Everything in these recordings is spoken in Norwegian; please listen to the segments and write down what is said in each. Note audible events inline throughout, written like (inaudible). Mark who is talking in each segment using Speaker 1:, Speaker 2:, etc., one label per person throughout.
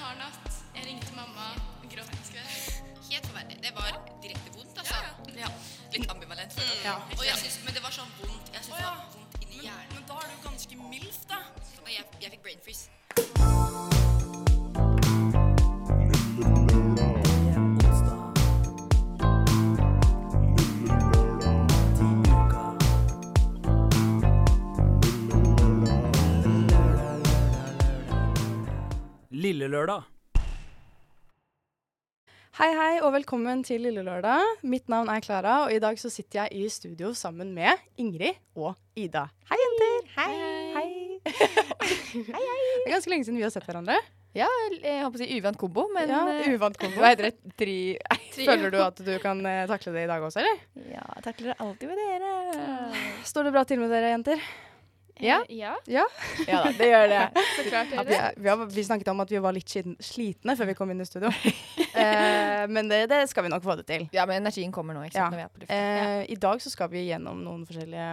Speaker 1: hard natt. Jeg ringte mamma, gråt en skvett.
Speaker 2: Helt forferdelig. Det var direkte vondt, altså.
Speaker 1: Ja.
Speaker 2: Litt ambivalent. føler jeg.
Speaker 1: Ja.
Speaker 2: Og jeg synes, men det var sånn vondt. Jeg synes det var vondt inni
Speaker 3: Men,
Speaker 2: hjernen.
Speaker 3: men da er det jo ganske mildt, da.
Speaker 2: Og jeg, jeg fikk brain freeze.
Speaker 4: Lille lørdag.
Speaker 5: Hei, hei, og velkommen til Lille Lørdag. Mitt navn er Klara, og i dag så sitter jeg i studio sammen med Ingrid og Ida. Hei, jenter! Hei, hei. Det er ganske lenge siden vi har sett hverandre.
Speaker 6: Ja, jeg håper å si uvant kombo, men
Speaker 5: ja,
Speaker 6: eh,
Speaker 5: Uvant kombo.
Speaker 6: hva heter det? Tri...
Speaker 5: (laughs) Føler du at du kan eh, takle det i dag også, eller?
Speaker 6: Ja, takler det alltid med dere. Eh,
Speaker 5: Står det bra til med dere, jenter?
Speaker 6: Ja.
Speaker 1: ja.
Speaker 6: Ja da, det gjør det.
Speaker 5: (laughs)
Speaker 1: Så klart gjør
Speaker 5: At vi,
Speaker 1: det.
Speaker 5: vi, har, vi snakket om at vi var litt skiten- slitne før vi kom inn i studio. Eh, men det, det skal vi nok få det til.
Speaker 6: Ja, men energien kommer nå, ikke sant,
Speaker 5: Ja.
Speaker 6: når vi er på lufta.
Speaker 5: Eh, I dag så skal vi gjennom noen forskjellige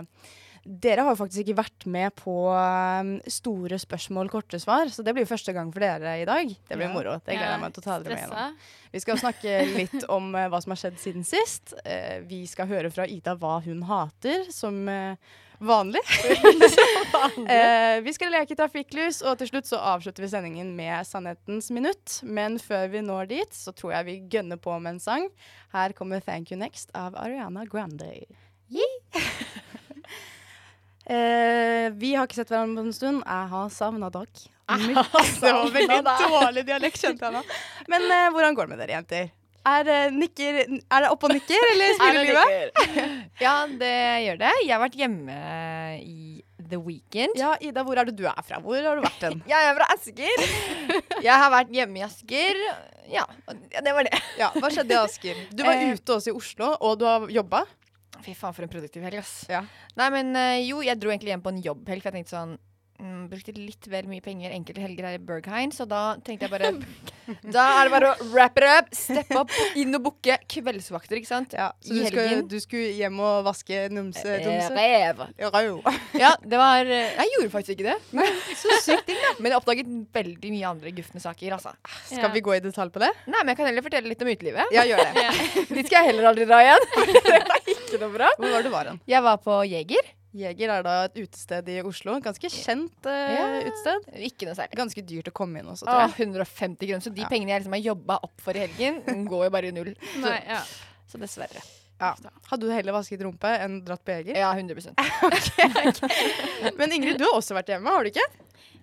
Speaker 5: Dere har jo faktisk ikke vært med på eh, store spørsmål, korte svar, så det blir jo første gang for dere i dag. Det blir
Speaker 6: Ja.
Speaker 5: moro. Det gleder jeg meg til å ta dere med
Speaker 1: Stressa.
Speaker 5: gjennom. Vi skal snakke litt om eh, hva som har skjedd siden sist. Eh, vi skal høre fra Ida hva hun hater, som eh, (laughs) vanlig. eh, vi skal leke trafikklys, og til slutt så avslutter vi sendingen med Sannhetens minutt. Men før vi når dit, så tror jeg vi gønner på med en sang. Her kommer Thank You Next av Ariana Grande. (laughs) Eh, vi har ikke sett hverandre på en stund. Jeg har savna (laughs) dere. Det var veldig dårlig dialekt, kjente jeg nå. (laughs) Men eh, hvordan går det med dere, jenter? Er, eh, nikker, er det opp og nikker, (laughs) eller smiler livet?
Speaker 6: Ja, det gjør det. Jeg har vært hjemme i the weekend.
Speaker 5: Ja, Ida, hvor er det du er fra? Hvor har du vært hen?
Speaker 6: Jeg er fra Asker. (laughs) Jeg har vært hjemme i Asker. Ja, og det var det.
Speaker 5: Ja, hva skjedde i Asker? Du var
Speaker 6: Eh,
Speaker 5: ute også i Oslo, og du har jobba.
Speaker 6: Fy faen, for en produktiv helg, ass.
Speaker 5: Ja.
Speaker 6: Nei, men eh, jo, jeg dro egentlig hjem på en jobbhelg, for jeg tenkte sånn mm, Brukte litt vel mye penger enkelte helger her i Berghain, så da tenkte (laughs) jeg bare Da er det bare å wrap it up, steppe opp, inn og booke kveldsvakter, ikke sant?
Speaker 5: Ja, så
Speaker 6: I
Speaker 5: du skulle,
Speaker 6: helgen.
Speaker 5: du skulle hjem og vaske numse
Speaker 6: Eh,
Speaker 5: dumse?
Speaker 6: Rev.
Speaker 5: Rau.
Speaker 6: Ja, det var eh, Jeg gjorde faktisk ikke det. så sykt ting, da. Men jeg oppdaget veldig mye andre gufne saker, altså.
Speaker 5: (laughs) Skal vi gå i detalj på det? (laughs)
Speaker 6: Nei, men jeg kan heller fortelle litt om utelivet.
Speaker 5: Ja, gjør
Speaker 6: (laughs)
Speaker 5: det.
Speaker 6: Dit skal jeg heller aldri dra igjen. det var ikke noe bra.
Speaker 5: Hvor var det du var hen?
Speaker 6: Jeg var på Jeger.
Speaker 5: Jeger er da et utested i Oslo. Ganske kjent eh,
Speaker 6: Ja.
Speaker 5: utested. Ah,
Speaker 6: Ikke noe særlig.
Speaker 5: Ganske dyrt å komme inn også, tror
Speaker 6: Åh,
Speaker 5: jeg.
Speaker 6: 150 kroner. Så de
Speaker 5: Ja.
Speaker 6: pengene jeg liksom har jobba opp for i helgen, går jo bare i null.
Speaker 1: Nei, ja.
Speaker 6: Så dessverre.
Speaker 5: Ja. Hadde du heller vasket rumpe enn dratt på Jeger?
Speaker 6: Ja, 100
Speaker 5: Men Ingrid, du har også vært hjemme, har du ikke?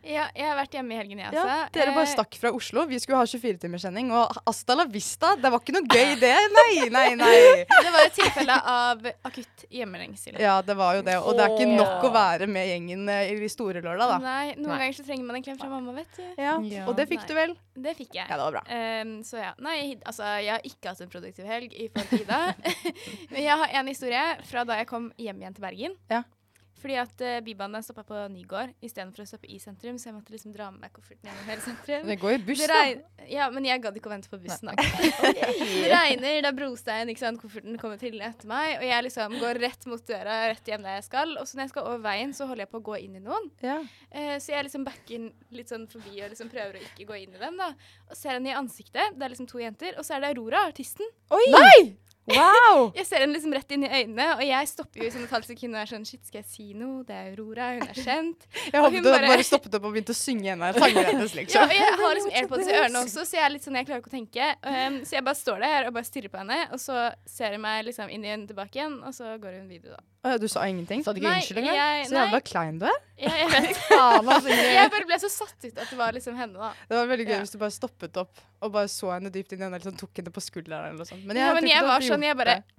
Speaker 1: ja. Jeg har vært hjemme i helgen, jeg
Speaker 5: Ja,
Speaker 1: også.
Speaker 5: dere bare
Speaker 1: Eh,
Speaker 5: stakk fra Oslo. Vi skulle ha 24-timerssending, og hasta la vista. Det var ikke noe gøy, det. Nei, nei, nei.
Speaker 1: Det var et tilfelle av akutt hjemlengsel.
Speaker 5: Ja, det var jo det. Og det er ikke nok å være med gjengen eh, i store lørdag, da.
Speaker 1: Nei, noen
Speaker 6: Nei.
Speaker 1: ganger så trenger man en klem fra mamma, vet du.
Speaker 5: Ja,
Speaker 6: Ja.
Speaker 5: Og det fikk du vel?
Speaker 1: Det fikk jeg.
Speaker 5: Ja, det var bra.
Speaker 1: Ehm, så ja. Nei, altså, jeg har ikke hatt en produktiv helg i forhold til Ida. (laughs) Men jeg har en historie fra da jeg kom hjem igjen til Bergen.
Speaker 5: Ja.
Speaker 1: Fordi at uh, Bybanen stoppa på Nygård istedenfor å stoppe i sentrum, så jeg måtte liksom dra med meg kofferten gjennom hele sentrum.
Speaker 6: Det går i buss,
Speaker 1: Det
Speaker 6: da.
Speaker 1: regn- ja, men jeg gadd ikke å vente på bussen.
Speaker 6: Nei,
Speaker 1: da. (laughs) Det regner, det er brostein, ikke sant? kofferten kommer trillende etter meg. Og jeg liksom går rett mot døra, rett hjem der jeg skal. Og så når jeg skal over veien, så holder jeg på å gå inn i noen.
Speaker 5: Ja.
Speaker 1: Eh, så jeg liksom backer litt sånn forbi og liksom prøver å ikke gå inn i dem. da. Og ser henne i ansiktet. Det er liksom to jenter. Og så er det Aurora, artisten.
Speaker 5: Oi! Nei! Wow!
Speaker 1: Jeg ser henne liksom rett inn i øynene, og jeg stopper jo i sånn et halvt sekund og er sånn Shit, skal jeg si noe? Det er Aurora, hun er kjent.
Speaker 5: (laughs) Jeg
Speaker 1: Og
Speaker 5: håpet
Speaker 1: hun
Speaker 5: du hadde
Speaker 1: bare-
Speaker 5: bare stoppet opp og begynt å
Speaker 1: (laughs)
Speaker 5: synge en av sangene hennes,
Speaker 1: Ja,
Speaker 5: liksom.
Speaker 1: og jeg har liksom airpods i ørene også, så jeg er litt sånn, jeg klarer ikke å tenke. Um, så jeg bare står der og bare stirrer på henne, og så ser hun meg liksom inn i øynene tilbake igjen, og så går hun videre, da.
Speaker 5: Å ja, Du sa ingenting?
Speaker 6: Sa du ikke
Speaker 1: Nei,
Speaker 6: unnskyld engang?
Speaker 1: jeg-
Speaker 5: Så jævla
Speaker 1: nei.
Speaker 5: klein du er.
Speaker 1: Ja, jeg vet.
Speaker 6: Faen, altså, Ingrid.
Speaker 1: Jeg bare ble så satt ut at det var liksom henne, da.
Speaker 5: Det var veldig gøy
Speaker 1: Ja.
Speaker 5: hvis du bare stoppet opp og bare så henne dypt inn i øynene eller sånn, tok henne på skulderen eller noe sånt.
Speaker 1: Ja, men
Speaker 5: tror ikke
Speaker 1: jeg
Speaker 5: du
Speaker 1: var
Speaker 5: hadde
Speaker 1: sånn, jeg
Speaker 5: gjort
Speaker 1: bare
Speaker 5: det.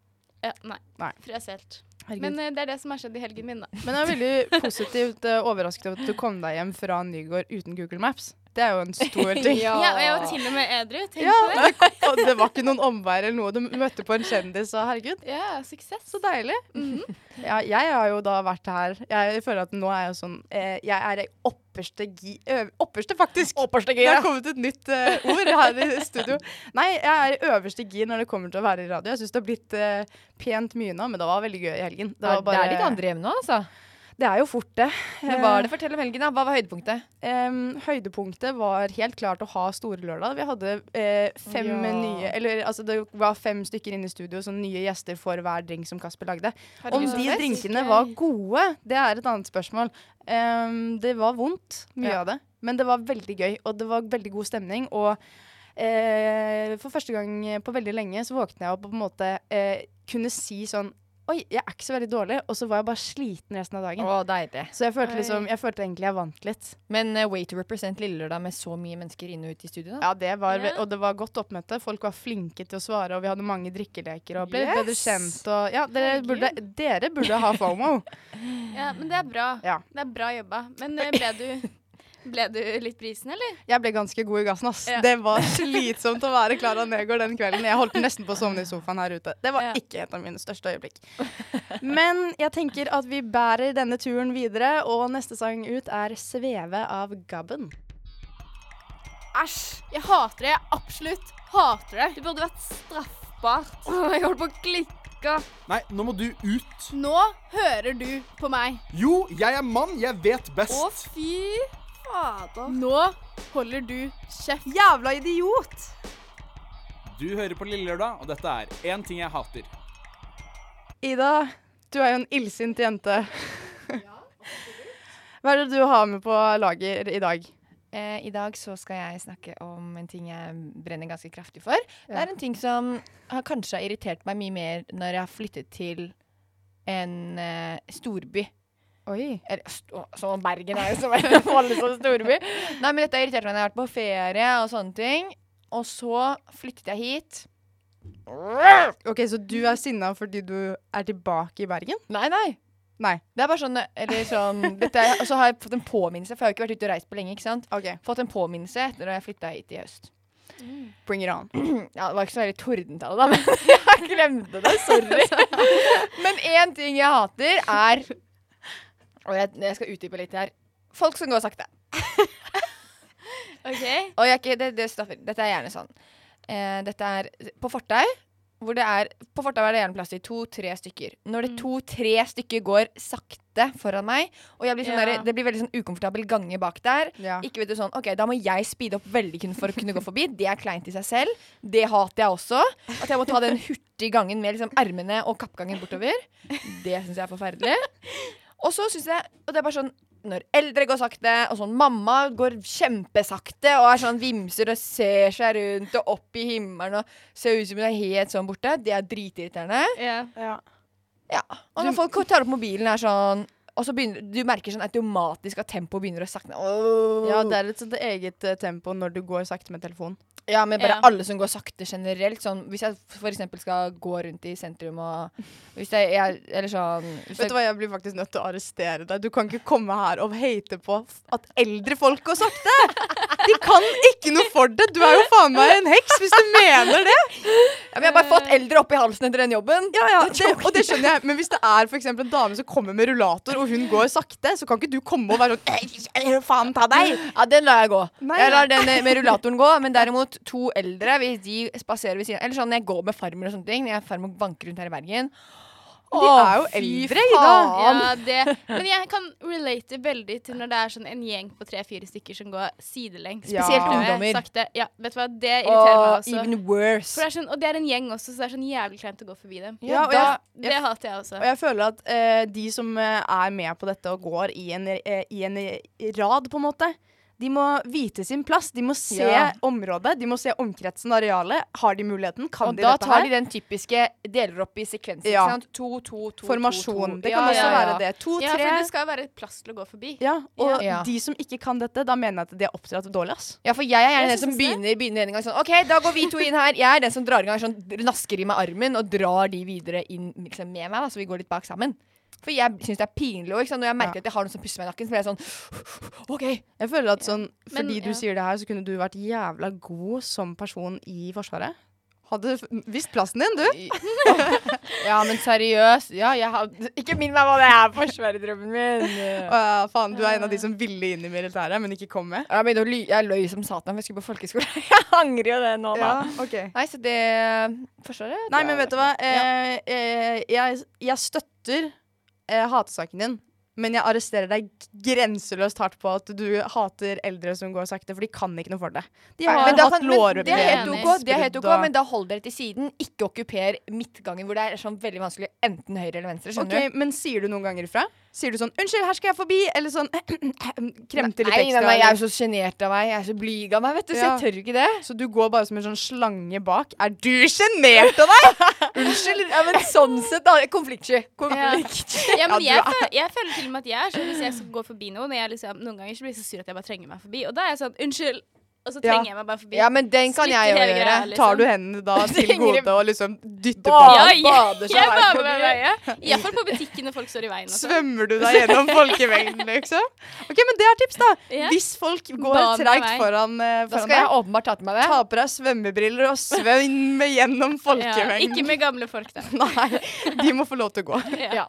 Speaker 1: ja, Nei.
Speaker 5: Nei.
Speaker 1: Frøs helt.
Speaker 5: Herregud.
Speaker 1: Men eh, det er det som har skjedd i helgen min, da.
Speaker 5: Men jeg er veldig positivt eh, overrasket over at du kom deg hjem fra Nygård uten Google Maps. Det er jo en
Speaker 1: (laughs)
Speaker 5: stor ting.
Speaker 1: Ja, og jeg var til og med edru. Tenk
Speaker 5: Ja,
Speaker 1: på det.
Speaker 5: det, (laughs) og det var ikke noen omveier eller noe. Du møtte på en kjendis, og herregud,
Speaker 1: Ja, suksess.
Speaker 5: så deilig.
Speaker 6: Mhm.
Speaker 5: (laughs) ja, jeg har jo da vært her Jeg føler at nå er jeg jo sånn eh, Jeg er i opperste gi... ø, Opperste, faktisk!
Speaker 6: Opperste
Speaker 5: Det har
Speaker 6: gira.
Speaker 5: kommet et nytt eh, ord her i studio. Nei, jeg er i øverste gir når det kommer til å være i radio. Jeg syns det har blitt eh, pent mye nå, men det var veldig gøy i helgen.
Speaker 6: Det,
Speaker 5: var
Speaker 6: er- det er litt andre hjem nå, altså.
Speaker 5: Det er jo fort, det.
Speaker 6: Men hva er det? Fortell om helgen, da. Hva var høydepunktet?
Speaker 5: Em, høydepunktet var helt klart å ha Storelørdag. Vi hadde eh, fem
Speaker 6: Ja.
Speaker 5: nye Eller altså, det var fem stykker inne i studio, så nye gjester for hver drink som Kasper lagde. Om
Speaker 6: så
Speaker 5: de
Speaker 6: fest.
Speaker 5: drinkene var gode, det er et annet spørsmål. Em, det var vondt, mye
Speaker 6: Ja.
Speaker 5: av det. Men det var veldig gøy, og det var veldig god stemning. Og eh, for første gang på veldig lenge så våkna jeg opp og på en måte eh, kunne si sånn Oi, jeg er ikke så veldig dårlig. Og så var jeg bare sliten resten av dagen.
Speaker 6: Å, deilig.
Speaker 5: Så jeg følte,
Speaker 1: Oi.
Speaker 5: liksom, jeg følte egentlig jeg vant litt.
Speaker 6: Men eh, way to represent Lille Lørdag med så mye mennesker inn og ut i studio, da.
Speaker 5: Ja, det var, ve-
Speaker 1: Ja.
Speaker 5: Og det var godt oppmøte. Folk var flinke til å svare, og vi hadde mange drikkeleker. Og ble litt bedre
Speaker 6: Yes!
Speaker 5: kjent. Og, ja, dere,
Speaker 1: Herregud.
Speaker 5: burde, dere burde ha FOMO.
Speaker 1: Ja, men det er bra.
Speaker 5: Ja.
Speaker 1: Det er bra jobba. Men eh, ble
Speaker 5: (laughs)
Speaker 1: du, ble du litt brisen, eller?
Speaker 5: Jeg ble ganske god i gassen. ass.
Speaker 1: Ja.
Speaker 5: Det var slitsomt å være Klara Negård den kvelden. Jeg holdt nesten på å sovne i sofaen her ute. Det var
Speaker 1: Ja.
Speaker 5: ikke et av mine største øyeblikk. Men jeg tenker at vi bærer denne turen videre, og neste sang ut er 'Sveve' av Gabben.
Speaker 3: Æsj! Jeg hater det. Jeg absolutt hater det. Det burde vært straffbart. Åh, jeg holdt på å klikke.
Speaker 4: Nei, nå må du ut.
Speaker 3: Nå hører du på meg.
Speaker 4: Jo, jeg er mann, jeg vet best.
Speaker 3: Å, fy fader. Nå holder du kjeft. Jævla idiot!
Speaker 4: Du hører på Lille Lørdag, og dette er én ting jeg hater.
Speaker 5: Ida, du er jo en illsint jente. Hva er det du har med på lager i dag?
Speaker 6: Eh, I dag så skal jeg snakke om en ting jeg brenner ganske kraftig for. Det er en ting som har kanskje har irritert meg mye mer når jeg har flyttet til en eh, storby.
Speaker 5: Oi.
Speaker 6: Eller, st- Som om Bergen er jo som (laughs) en vanlig sånn storby. Nei, men dette har irritert meg når jeg har vært på ferie og sånne ting. Og så flyttet jeg hit.
Speaker 5: Ok, Så du er sinna fordi du er tilbake i Bergen?
Speaker 6: Nei, nei.
Speaker 5: Nei.
Speaker 6: Det er bare sånn, eller sånn dette, er- Og så har jeg fått en påminnelse, for jeg har jo ikke vært ute og reist på lenge. ikke sant?
Speaker 5: Ok,
Speaker 6: Fått en påminnelse etter at jeg flytta hit i høst.
Speaker 5: Bring it on.
Speaker 6: Ja, det var ikke så veldig tordentale, da, men (laughs) jeg glemte det. Sorry. Men én ting jeg hater, er Og jeg, jeg skal utdype litt her. Folk som går sakte.
Speaker 1: OK?
Speaker 6: Og jeg, er ikke- det, det straffer. Dette er gjerne sånn. Eh, dette er på fortau. Hvor det er, på fortau er det gjerne plass til to-tre stykker. Når det to-tre stykker går sakte foran meg, og jeg blir sånn
Speaker 1: Ja.
Speaker 6: der, det blir veldig sånn ukomfortabel gange bak der
Speaker 5: Ja.
Speaker 6: Ikke vet du sånn, ok, Da må jeg speede opp veldig kun for å kunne gå forbi. Det er kleint i seg selv. Det hater jeg også. At jeg må ta den hurtige gangen med liksom ermene og kappgangen bortover. Det syns jeg er forferdelig. Og så syns jeg Og det er bare sånn når eldre går sakte, og sånn mamma går kjempesakte og er sånn vimser og ser seg rundt og opp i himmelen og ser ut som hun er helt sånn borte, det er dritirriterende.
Speaker 1: Ja.
Speaker 6: Ja. Og når folk tar opp mobilen, er sånn og så begynner, Du merker sånn automatisk at tempoet begynner å sakne. Åh.
Speaker 5: Ja, det er et sånt eget eh, tempo når du går sakte med telefonen.
Speaker 6: Ja, men bare
Speaker 1: Ja.
Speaker 6: alle som går sakte generelt. Sånn, hvis jeg f.eks. skal gå rundt i sentrum og Hvis jeg, jeg Eller sånn hvis
Speaker 5: Vet
Speaker 6: jeg-
Speaker 5: du hva, Jeg blir faktisk nødt til å arrestere deg. Du kan ikke komme her og hate på f- at eldre folk går sakte! De kan ikke noe for det! Du er jo faen meg en heks hvis du mener det!
Speaker 6: ja, men Jeg har bare fått eldre opp i halsen etter den jobben.
Speaker 5: Ja, ja, det, (laughs) og det skjønner jeg. Men hvis det er for eksempel en dame som kommer med rullator, og hun går sakte, så kan ikke du komme og være sånn «Ei, ei, Faen ta deg!
Speaker 6: Ja, den lar jeg gå.
Speaker 5: Nei,
Speaker 6: jeg lar
Speaker 5: nei.
Speaker 6: den eh, med rullatoren gå,
Speaker 5: (laughs)
Speaker 6: men derimot to eldre, hvis de spaserer ved siden av Eller sånn, jeg går med farmer og sånne ting. Når jeg er farmer og vanker rundt her i Bergen.
Speaker 5: Men de er jo eldre, Ida.
Speaker 1: Ja, det. Men jeg kan relate veldig til når det er sånn en gjeng på tre-fire stykker som går sidelengs.
Speaker 5: Ja.
Speaker 6: Spesielt
Speaker 1: Prøver,
Speaker 6: ungdommer.
Speaker 1: Sakte. Ja, vet du hva, det irriterer meg
Speaker 6: Og
Speaker 1: også.
Speaker 6: even
Speaker 1: For det
Speaker 6: worse.
Speaker 1: er sånn, og det er en gjeng også, så det er sånn jævlig kleint å gå forbi dem.
Speaker 5: Ja, og
Speaker 1: da,
Speaker 5: jeg-
Speaker 1: det hater jeg også.
Speaker 5: Og jeg føler at eh, de som eh, er med på dette og går i en, eh, i en rad, på en måte, de må vite sin plass. De må se
Speaker 6: Ja.
Speaker 5: området, de må se omkretsen, arealet. Har de muligheten? Kan
Speaker 6: Og
Speaker 5: sånn de
Speaker 6: da
Speaker 5: dette
Speaker 6: tar
Speaker 5: her?
Speaker 6: de den typiske deler opp i sekvenser.
Speaker 5: Ja.
Speaker 6: Ikke sant? To, to, to,
Speaker 5: Formasjon.
Speaker 6: to, to.
Speaker 5: Det kan
Speaker 1: Ja,
Speaker 5: også
Speaker 1: ja, ja.
Speaker 5: være det. To,
Speaker 1: ja,
Speaker 5: tre.
Speaker 1: for det skal være plass til å gå forbi.
Speaker 5: Ja, og
Speaker 6: Ja.
Speaker 5: de som ikke kan dette, da mener jeg at de er oppdratt dårlig, ass.
Speaker 6: Ja, for jeg er gjerne
Speaker 1: Jeg
Speaker 6: den som
Speaker 1: synes det.
Speaker 6: begynner, begynner en gang sånn OK, da går vi to inn her. Jeg er den som drar i gang sånn nasker i meg armen og drar de videre inn liksom, med meg, da, så vi går litt bak sammen. For jeg syns det er pinlig også, ikke sant? Når jeg merker at jeg har noen som pusser meg i nakken, så blir jeg sånn OK.
Speaker 5: Jeg føler at sånn,
Speaker 1: Men,
Speaker 5: fordi
Speaker 1: ja.
Speaker 5: du sier det her, så kunne du vært jævla god som person i Forsvaret. Hadde f- visst plassen din, du.
Speaker 6: (laughs) Ja, men seriøst. Ja, jeg har Ikke minn meg hva det er, forsvarerdrømmen min.
Speaker 5: Å, ja, faen, du er
Speaker 6: Eh.
Speaker 5: en av de som ville inn i militæret, men ikke kom med.
Speaker 6: Jeg, begynte å ly jeg løy som satan, for jeg skulle på folkeskole. (laughs) Jeg angrer jo det nå, da.
Speaker 5: Ja, ok.
Speaker 6: Nei, så det Forsvaret? tror
Speaker 5: Nei,
Speaker 6: jeg-
Speaker 5: men vet du hva? Eh, eh, jeg, jeg støtter eh, hatesaken din, men jeg arresterer deg grenseløst hardt på at du hater eldre som går sakte, for de kan ikke noe for det. De har
Speaker 6: Men da
Speaker 5: hatt
Speaker 6: kan- men Det er
Speaker 5: lårben.
Speaker 6: helt
Speaker 1: Enig.
Speaker 6: OK, det er helt ok,
Speaker 5: Sprudda.
Speaker 6: men da hold dere til siden. Ikke okkuper midtgangen hvor det er sånn veldig vanskelig enten høyre eller venstre.
Speaker 5: Ok,
Speaker 6: skjønner
Speaker 5: men sier du noen ganger ifra? Sier du sånn 'Unnskyld, her skal jeg forbi', eller sånn (clears throat)
Speaker 6: du?
Speaker 5: kremte litt
Speaker 6: Nei, nei,
Speaker 5: ekstra?
Speaker 6: nei, jeg er
Speaker 5: eller-
Speaker 6: så sjenert av meg. Jeg er så blyg av meg, vet du, så
Speaker 5: Ja.
Speaker 6: jeg tør ikke det.
Speaker 5: Så du går bare som en sånn slange bak? Er du sjenert av
Speaker 6: (laughs)
Speaker 5: deg?!
Speaker 6: Unnskyld. Ja, men sånn sett, da. Konfliktsky. Konflikt.
Speaker 1: Ja, men
Speaker 5: Ja,
Speaker 1: jeg, føler, jeg føler til og med at jeg er sånn hvis jeg skal gå forbi noen og jeg liksom, Noen ganger så blir jeg så sur at jeg bare trenger meg forbi. Og da er jeg sånn Unnskyld! Og så
Speaker 5: Ja.
Speaker 1: trenger jeg meg bare forbi.
Speaker 6: Ja, men den kan
Speaker 1: Splitter
Speaker 6: jeg jo
Speaker 1: hele
Speaker 6: gjøre.
Speaker 1: greia, liksom.
Speaker 5: Tar du hendene
Speaker 6: (laughs)
Speaker 5: da til
Speaker 6: Trenger-
Speaker 5: gode og liksom dytter
Speaker 6: Ba-
Speaker 1: Ja,
Speaker 5: på?
Speaker 1: jeg,
Speaker 6: bader seg
Speaker 1: jeg
Speaker 6: vei
Speaker 1: bader meg
Speaker 6: forbi.
Speaker 1: i øyet. Iallfall på butikken når folk står i veien. og sånn.
Speaker 5: Svømmer du deg
Speaker 6: (laughs)
Speaker 5: gjennom folkemengden, liksom? Ok, men det er tips, da!
Speaker 1: Ja.
Speaker 5: Hvis folk går
Speaker 1: Bane
Speaker 5: treigt
Speaker 1: vei.
Speaker 5: foran,
Speaker 6: Da
Speaker 5: eh, foran
Speaker 6: skal jeg
Speaker 5: deg,
Speaker 6: åpenbart ta til meg det.
Speaker 5: ta på deg
Speaker 6: (laughs)
Speaker 5: svømmebriller og svøm gjennom
Speaker 1: Ja,
Speaker 5: folkemengden.
Speaker 1: ikke med gamle folk, da.
Speaker 5: Nei, de må få lov til å gå.
Speaker 1: Ja.
Speaker 6: Ja.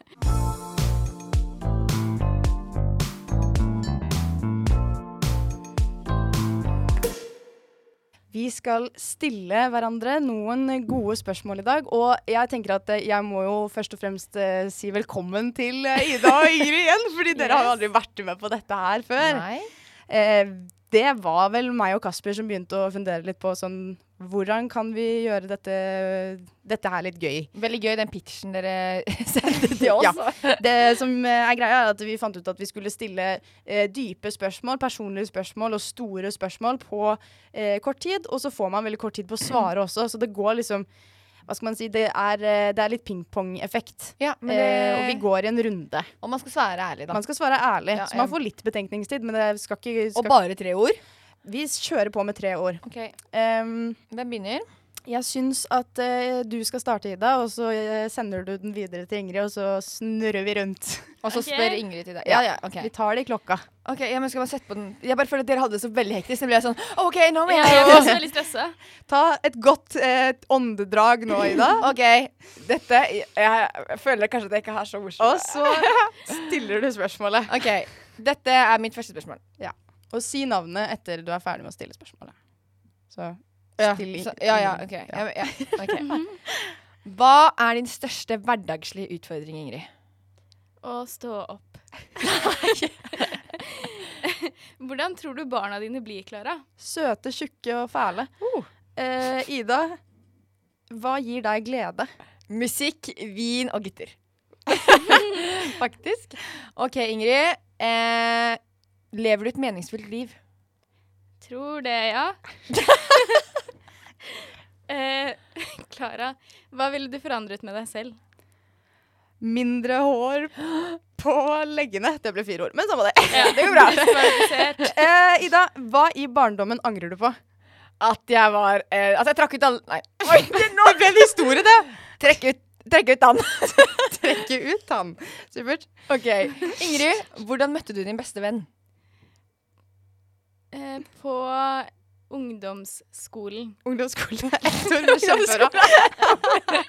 Speaker 5: Vi skal stille hverandre noen gode spørsmål i dag. Og jeg tenker at eh, jeg må jo først og fremst eh, si velkommen til eh, Ida og Ingrid igjen. Fordi dere har jo aldri vært med på dette her før.
Speaker 6: Nei.
Speaker 5: Eh, det var vel meg og Kasper som begynte å fundere litt på sånn Hvordan kan vi gjøre dette, dette her litt gøy?
Speaker 6: Veldig gøy den pitchen dere (laughs) sendte til oss.
Speaker 5: Ja. Det som eh, er greia er at Vi fant ut at vi skulle stille eh, dype spørsmål, personlige spørsmål og store spørsmål på eh, kort tid. Og så får man veldig kort tid på å svare også, så det går liksom hva skal man si, Det er, eh, det er litt pingpong-effekt.
Speaker 6: Ja, men det,
Speaker 5: Eh, og vi går i en runde.
Speaker 6: og man skal svare ærlig, da.
Speaker 5: Man skal svare ærlig,
Speaker 6: Ja,
Speaker 5: så man
Speaker 6: jeg-
Speaker 5: får litt betenkningstid. Men det skal ikke
Speaker 6: Og
Speaker 5: skal,
Speaker 6: bare tre ord.
Speaker 5: Vi kjører på med tre år.
Speaker 6: Ok,
Speaker 5: Ehm,
Speaker 6: Hvem begynner?
Speaker 5: jeg syns at eh, du skal starte, Ida, og så eh, sender du den videre til Ingrid, og så snurrer vi rundt.
Speaker 6: Og så
Speaker 1: Ok.
Speaker 6: spør Ingrid til deg. Ja, ja, ok.
Speaker 5: Vi tar det i klokka.
Speaker 6: Ok, ja, men skal man sette på den Jeg bare føler at dere hadde det så veldig hektisk. Så ble jeg sånn OK, nå må
Speaker 1: Ja,
Speaker 6: jeg
Speaker 1: jeg blir også veldig stressa.
Speaker 5: Ta et godt eh, åndedrag nå,
Speaker 6: (laughs)
Speaker 5: Ida.
Speaker 6: OK. Dette jeg, jeg føler kanskje at jeg ikke har så
Speaker 5: Og
Speaker 6: morsomt.
Speaker 5: så stiller du spørsmålet.
Speaker 6: OK. Dette er mitt første spørsmål.
Speaker 5: (laughs) Og si navnet etter du er ferdig med å stille spørsmålet. Så
Speaker 6: Ja,
Speaker 5: still i-
Speaker 6: så, ja, ja, OK. Ja, ja, ok. (laughs) Hva er din største hverdagslige utfordring, Ingrid?
Speaker 1: Og stå opp. (laughs) Hvordan tror du barna dine blir, Klara?
Speaker 5: Søte, tjukke og fæle. Eh, Ida, hva gir deg glede?
Speaker 6: Musikk, vin og (laughs) gutter. Faktisk. OK, Ingrid. Eh, lever du et meningsfullt liv?
Speaker 1: Tror det, ja. (laughs) Eh, Klara, hva ville du forandret med deg selv?
Speaker 5: Mindre hår (gasps) på leggene. Det ble fire ord, men samme det. (laughs)
Speaker 1: Ja, det går bra. (laughs) Diskvalifisert.
Speaker 5: Eh, Ida, hva i barndommen angrer du på?
Speaker 6: At jeg var eh, At jeg trakk ut alle Nei.
Speaker 5: Det ble en historie,
Speaker 6: (laughs)
Speaker 5: det!
Speaker 6: Trekk ut, trekk ut han.
Speaker 5: Trekke ut han. Supert.
Speaker 6: Ok, Ingrid, hvordan møtte du din beste venn?
Speaker 1: Eh, på ungdomsskolen.
Speaker 6: (laughs)
Speaker 5: Ungdomsskole. Ett ord med kjempebra.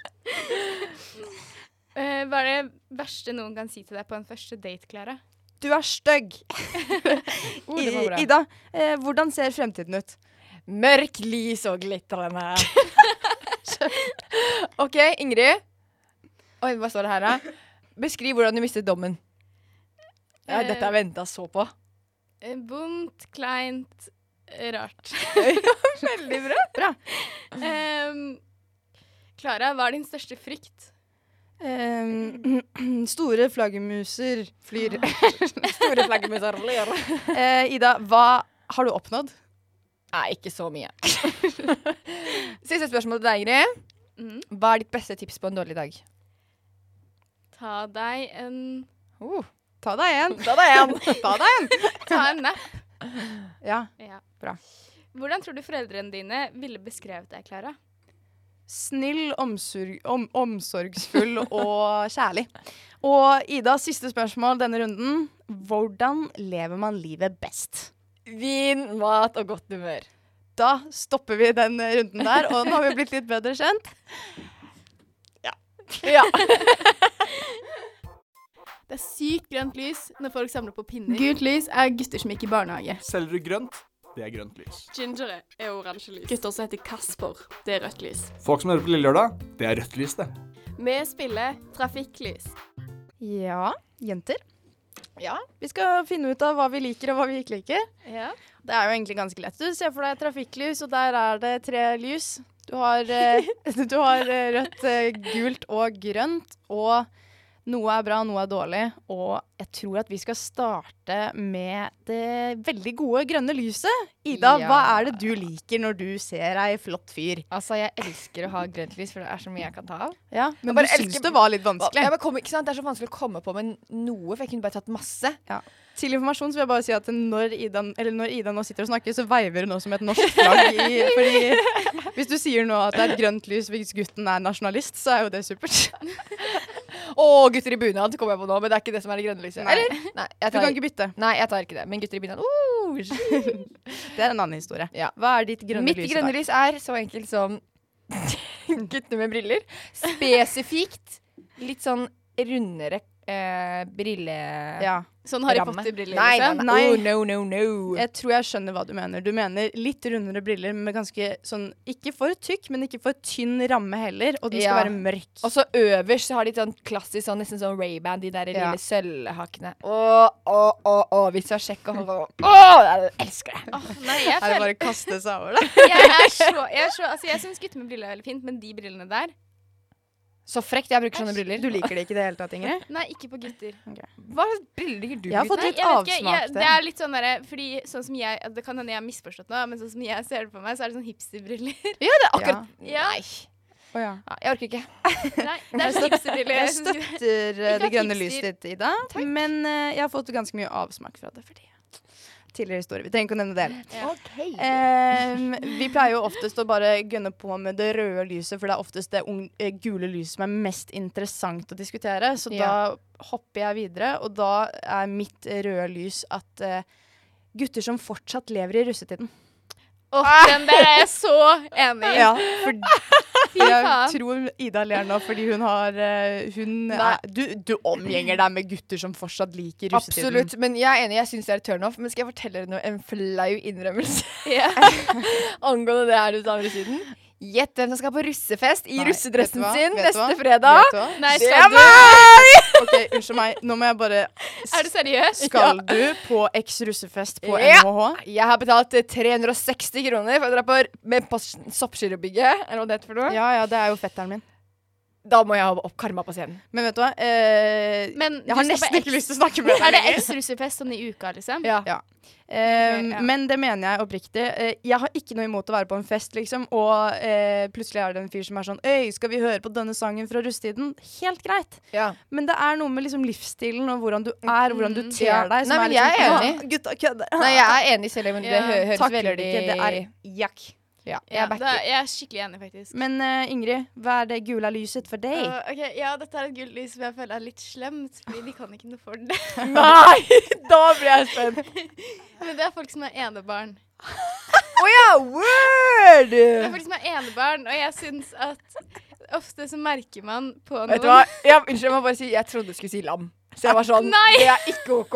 Speaker 1: Eh, hva er det verste noen kan si til deg på en første date, Klara?
Speaker 5: Du er stygg.
Speaker 6: (laughs) Oh, det var bra.
Speaker 5: Ida, eh, hvordan ser fremtiden ut?
Speaker 6: Mørk, lys og (laughs) glitrende. ok, Ingrid. Oi, hva står det her, da? Beskriv hvordan du mistet dommen. Ja, dette har jeg venta så på.
Speaker 1: Eh, vondt, kleint, eh, rart. (laughs)
Speaker 5: Veldig bra. bra.
Speaker 1: Ehm, Klara, hva er din største frykt?
Speaker 5: Eh, (clears throat) store flaggermuser
Speaker 6: (gasps)
Speaker 5: flyr.
Speaker 6: Store flaggermuser. (laughs)
Speaker 5: Eh, Ida, hva har du oppnådd?
Speaker 6: Nei, ikke så mye. (laughs) Siste spørsmål til deg, Ingrid.
Speaker 1: Mm.
Speaker 6: Hva er ditt beste tips på en dårlig dag?
Speaker 1: Ta deg en
Speaker 6: Oh,
Speaker 5: Ta deg en.
Speaker 6: da er jeg en.
Speaker 5: (laughs) Ta deg en.
Speaker 1: Ta en nap.
Speaker 5: Ja.
Speaker 1: Ja.
Speaker 5: Bra.
Speaker 1: Hvordan tror du foreldrene dine ville beskrevet deg, Klara?
Speaker 5: Snill, omsorg, om, omsorgsfull og kjærlig. Og Ida, siste spørsmål denne runden. Hvordan lever man livet best?
Speaker 6: Vin, mat og godt humør.
Speaker 5: Da stopper vi den eh, runden der, og nå har vi blitt litt bedre kjent.
Speaker 6: (laughs) Ja.
Speaker 7: Det er sykt grønt lys når folk samler på pinner. Gult lys er gutter som gikk i barnehage.
Speaker 4: Selger du grønt, det er grønt lys.
Speaker 7: Gingere er oransje lys. Gutter som heter Kasper, det er rødt lys.
Speaker 4: Folk som hører på Lille Lørdag, det er rødt lys, det.
Speaker 7: Vi spiller trafikklys.
Speaker 5: Ja, jenter.
Speaker 6: Ja.
Speaker 5: Vi skal finne ut av hva vi liker og hva vi ikke liker.
Speaker 1: Ja.
Speaker 5: Det er jo egentlig ganske lett. Du ser for deg et trafikklys, og der er det tre lys. Du har, eh, (laughs) du har eh, rødt, eh, gult og grønt, og noe er bra, noe er dårlig. Og jeg tror at vi skal starte med det veldig gode grønne lyset. Ida,
Speaker 6: Ja.
Speaker 5: hva er det du liker når du ser ei flott fyr?
Speaker 6: Altså, jeg elsker å ha grønt lys, for det er så mye jeg kan ta av.
Speaker 5: Ja,
Speaker 6: Jeg
Speaker 5: men
Speaker 6: bare
Speaker 5: du syns
Speaker 6: elsker-
Speaker 5: det var litt vanskelig.
Speaker 6: Jeg bare kom, ikke sant? Det er så vanskelig å komme på med noe, for jeg kunne bare tatt masse.
Speaker 5: Til informasjon så vil jeg bare si at når Ida, eller når Ida nå sitter og snakker, så veiver hun nå som et norsk flagg. I, fordi hvis du sier nå at det er et grønt lys hvis gutten er nasjonalist, så er jo det supert.
Speaker 6: Å, gutter i bunad kommer jeg på nå, men det er ikke det som er det grønne lyset.
Speaker 5: Nei.
Speaker 6: Eller? Nei, jeg
Speaker 5: Du
Speaker 6: tar,
Speaker 5: kan ikke bytte.
Speaker 6: nei, jeg tar ikke det. Men gutter i bunad uh,
Speaker 5: Det er en annen historie.
Speaker 6: Ja.
Speaker 5: Hva er ditt grønne
Speaker 6: Mitt
Speaker 5: lys? i
Speaker 6: grønne
Speaker 5: dag?
Speaker 6: lys er så enkelt som (laughs) guttene med briller. Spesifikt litt sånn rundere eh, brille...
Speaker 5: Ja.
Speaker 1: Sånn Harry
Speaker 6: Ramme.
Speaker 1: Potter-briller,
Speaker 6: Nei, nei,
Speaker 1: liksom?
Speaker 6: nei.
Speaker 5: Nei.
Speaker 6: Oh, no, no, no.
Speaker 5: Jeg tror jeg skjønner hva du mener. Du mener litt rundere briller med ganske sånn Ikke for tykk, men ikke for tynn ramme heller. Og den skal
Speaker 6: Ja.
Speaker 5: være mørk.
Speaker 6: Og så øverst så har de sånn klassisk sånn, nesten sånn Ray-Ban, de der
Speaker 5: Ja.
Speaker 6: lille sølvhakene. Å, å, å, å, hvis jeg sjekker og holder på Å, jeg elsker det!
Speaker 1: Åh, nei, jeg
Speaker 5: Er det
Speaker 1: føler
Speaker 5: bare å kaste seg over det?
Speaker 1: Jeg, er så, jeg, er så, altså, jeg syns gutter med briller er veldig fint, men de brillene der
Speaker 6: (laughs) Så frekt jeg bruker sånne briller.
Speaker 5: Du
Speaker 6: (laughs)
Speaker 5: liker det ikke i det hele tatt, Ingrid?
Speaker 1: Nei, ikke på gutter.
Speaker 6: Hva slags briller liker du?
Speaker 5: Jeg har fått
Speaker 1: Nei,
Speaker 5: litt
Speaker 1: jeg vet ikke, jeg,
Speaker 5: avsmak
Speaker 1: det
Speaker 5: der.
Speaker 1: er litt sånn derre Fordi sånn som jeg Det kan hende jeg har misforstått noe, men sånn som jeg ser det på meg, så er det sånn hipsterbriller.
Speaker 6: det er akkurat
Speaker 1: (laughs) Ja.
Speaker 6: Nei.
Speaker 5: Å ja.
Speaker 6: Ja, Jeg orker ikke.
Speaker 1: Nei, det er sånn hipsterbriller.
Speaker 5: Jeg
Speaker 1: Jeg synes ikke-
Speaker 5: støtter eh,
Speaker 1: Ikke
Speaker 5: det
Speaker 1: at
Speaker 5: grønne
Speaker 1: hipster-
Speaker 5: lyset ditt, Ida. Men eh, jeg har fått ganske mye avsmak fra det. Fordi Tidligere historie. Vi trenger ikke å nevne det. heller.
Speaker 1: Ja.
Speaker 6: Eh,
Speaker 5: Em, vi pleier jo oftest å bare gønne på med det røde lyset, for det er oftest det ung- eh, gule lyset som er mest interessant å diskutere. Så
Speaker 6: Ja.
Speaker 5: da hopper jeg videre, og da er mitt røde lys at eh, gutter som fortsatt lever i russetiden.
Speaker 1: Åh, den der er jeg så enig i.
Speaker 5: Ja, for
Speaker 1: Fy
Speaker 5: Jeg
Speaker 1: faen.
Speaker 5: tror Ida ler nå fordi hun har eh, hun
Speaker 6: Nei.
Speaker 5: er, du, du omgjenger deg med gutter som fortsatt liker russetiden.
Speaker 6: Absolutt. Men jeg er enig, jeg syns det er et turnoff. Men skal jeg fortelle dere noe, en flau
Speaker 5: (laughs)
Speaker 6: innrømmelse
Speaker 1: Ja.
Speaker 6: (laughs) angående det her du sa om russiden? Gjett hvem som skal på russefest i
Speaker 5: Nei,
Speaker 6: russedressen
Speaker 5: vet du hva?
Speaker 6: sin
Speaker 5: Vet du
Speaker 6: neste
Speaker 5: hva?
Speaker 6: fredag.
Speaker 5: Vet du hva?
Speaker 1: Nei,
Speaker 6: Det
Speaker 1: skal
Speaker 6: er
Speaker 1: du
Speaker 5: OK, unnskyld meg. Nå må jeg bare
Speaker 1: Er du seriøs?
Speaker 5: Skal du på X-russefest på
Speaker 6: Ja.
Speaker 5: NHH?
Speaker 6: Jeg har betalt eh, 360 kroner for å dra på, med på Soppskyrrebygget, eller hva det heter for noe.
Speaker 5: Ja ja, det er jo fetteren min.
Speaker 6: Da må jeg ha opp karma på scenen.
Speaker 5: Men vet du hva? Eh,
Speaker 1: Men du
Speaker 5: jeg har
Speaker 1: skal på
Speaker 5: nesten ikke
Speaker 1: X-
Speaker 5: lyst til å snakke med deg
Speaker 1: (laughs) Er det
Speaker 5: lenger.
Speaker 1: eks-russefest sånn i uka, liksom?
Speaker 6: Ja.
Speaker 5: Eh,
Speaker 1: Ok, ja.
Speaker 5: Men det mener jeg oppriktig. Eh, jeg har ikke noe imot å være på en fest, liksom, og eh, plutselig er det en fyr som er sånn Øy, skal vi høre på denne sangen fra russetiden? Helt greit.
Speaker 6: Ja.
Speaker 5: Men det er noe med liksom livsstilen og hvordan du er, og hvordan du ter
Speaker 6: Ja.
Speaker 5: deg, som
Speaker 6: Nei, men
Speaker 5: er liksom
Speaker 6: jeg er
Speaker 5: «Ah, Gutta kødder.
Speaker 6: Nei, jeg er enig, selv om det
Speaker 1: Ja.
Speaker 6: hø høres
Speaker 5: Takler det
Speaker 6: veldig
Speaker 5: ikke. Det er jack.
Speaker 6: ja,
Speaker 1: Ja, da,
Speaker 6: Jeg backer.
Speaker 1: jeg er skikkelig enig, faktisk.
Speaker 5: Men eh, Ingrid, hva er det gula lyset for deg?
Speaker 1: Åh, ok, ja, dette er et gult lys som jeg føler er litt slemt, fordi de kan ikke noe for det. (laughs)
Speaker 6: (laughs) Nei! Da blir jeg spent.
Speaker 1: Men det er folk som er enebarn.
Speaker 6: Å ja! Word!
Speaker 1: Det er folk som er enebarn, og jeg syns at ofte så merker man på noen
Speaker 6: Vet du hva? Ja, unnskyld, jeg må bare si jeg trodde du skulle si lam. Så jeg var sånn
Speaker 1: Nei!
Speaker 6: Det er ikke OK.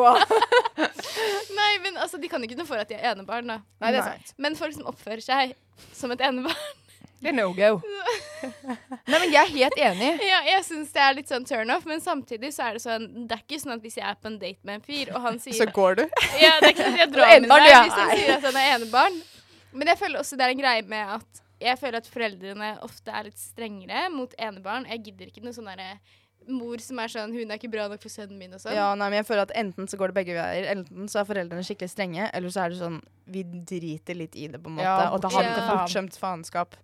Speaker 1: Nei, men altså, de kan ikke noe for at de er enebarn, da.
Speaker 6: Nei, det er
Speaker 5: Nei.
Speaker 6: sant.
Speaker 1: Men folk som oppfører seg som et enebarn
Speaker 6: (laughs) Det er no go. (laughs) Nei, men jeg er helt enig.
Speaker 1: Ja, jeg syns det er litt sånn turnoff, men samtidig så er det sånn Det er ikke sånn at hvis jeg er på en date med en fyr, og han sier
Speaker 5: går du.
Speaker 1: Ja, det er ikke sånn at jeg drar
Speaker 6: er
Speaker 1: med
Speaker 6: enebarn,
Speaker 1: deg
Speaker 6: ja.
Speaker 1: hvis han sier at han er enebarn. Men jeg føler også det er en greie med at jeg føler at foreldrene ofte er litt strengere mot enebarn. Jeg gidder ikke noe sånn derre mor som er sånn 'Hun er ikke bra nok for sønnen min', og sånn.
Speaker 5: Ja, nei, men jeg føler at Enten så går det begge veier. Enten så er foreldrene skikkelig strenge, eller så er det sånn vi driter litt i det, på en måte.
Speaker 6: Ja,
Speaker 5: og det har
Speaker 1: bortskjemt
Speaker 5: et bortskjemt faenskap.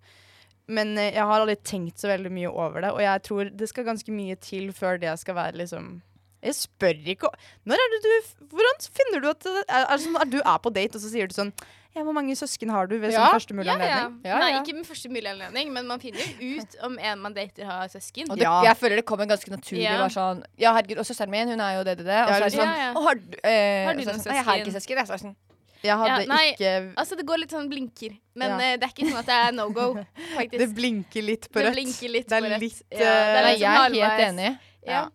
Speaker 5: Men eh, jeg har aldri tenkt så veldig mye over det, og jeg tror det skal ganske mye til før det skal være liksom jeg spør ikke o- Når er det du Hvordan finner du at det er, er, det sånn, at du er på date, og så sier du sånn Ja, hvor mange søsken har du ved
Speaker 6: Ja,
Speaker 5: sånn første mulige anledning?
Speaker 6: Ja,
Speaker 1: Nei,
Speaker 6: ja.
Speaker 1: ikke med første mulige anledning, men man finner jo ut om en man dater har søsken.
Speaker 6: Og det,
Speaker 5: Ja.
Speaker 6: Jeg føler det kommer ganske naturlig.
Speaker 1: Ja.
Speaker 6: Bare sånn, ja, herregud, Og søsteren min, hun er jo det, det, det. Og
Speaker 5: Ja,
Speaker 6: så er det
Speaker 1: liksom.
Speaker 6: sånn,
Speaker 1: Ja, ja.
Speaker 6: «Å, har du, eh,
Speaker 1: Har du
Speaker 6: og så er det
Speaker 1: noen
Speaker 6: sånn, «Nei, Jeg har
Speaker 1: søsken?»
Speaker 6: ikke søsken. Jeg, så er det sånn,
Speaker 5: Jeg hadde
Speaker 1: Ja, nei.
Speaker 5: ikke
Speaker 1: Altså, det går litt sånn blinker, men
Speaker 5: Ja.
Speaker 1: eh, det er ikke sånn at det er no go, faktisk.
Speaker 5: Det blinker litt på
Speaker 1: Det
Speaker 5: rødt.
Speaker 1: blinker litt
Speaker 5: det er
Speaker 1: på rødt.
Speaker 5: litt
Speaker 1: Ja, det er
Speaker 5: eh,
Speaker 6: Nei,
Speaker 1: liksom
Speaker 6: jeg er helt
Speaker 1: halvveis.
Speaker 6: enig.
Speaker 1: ja.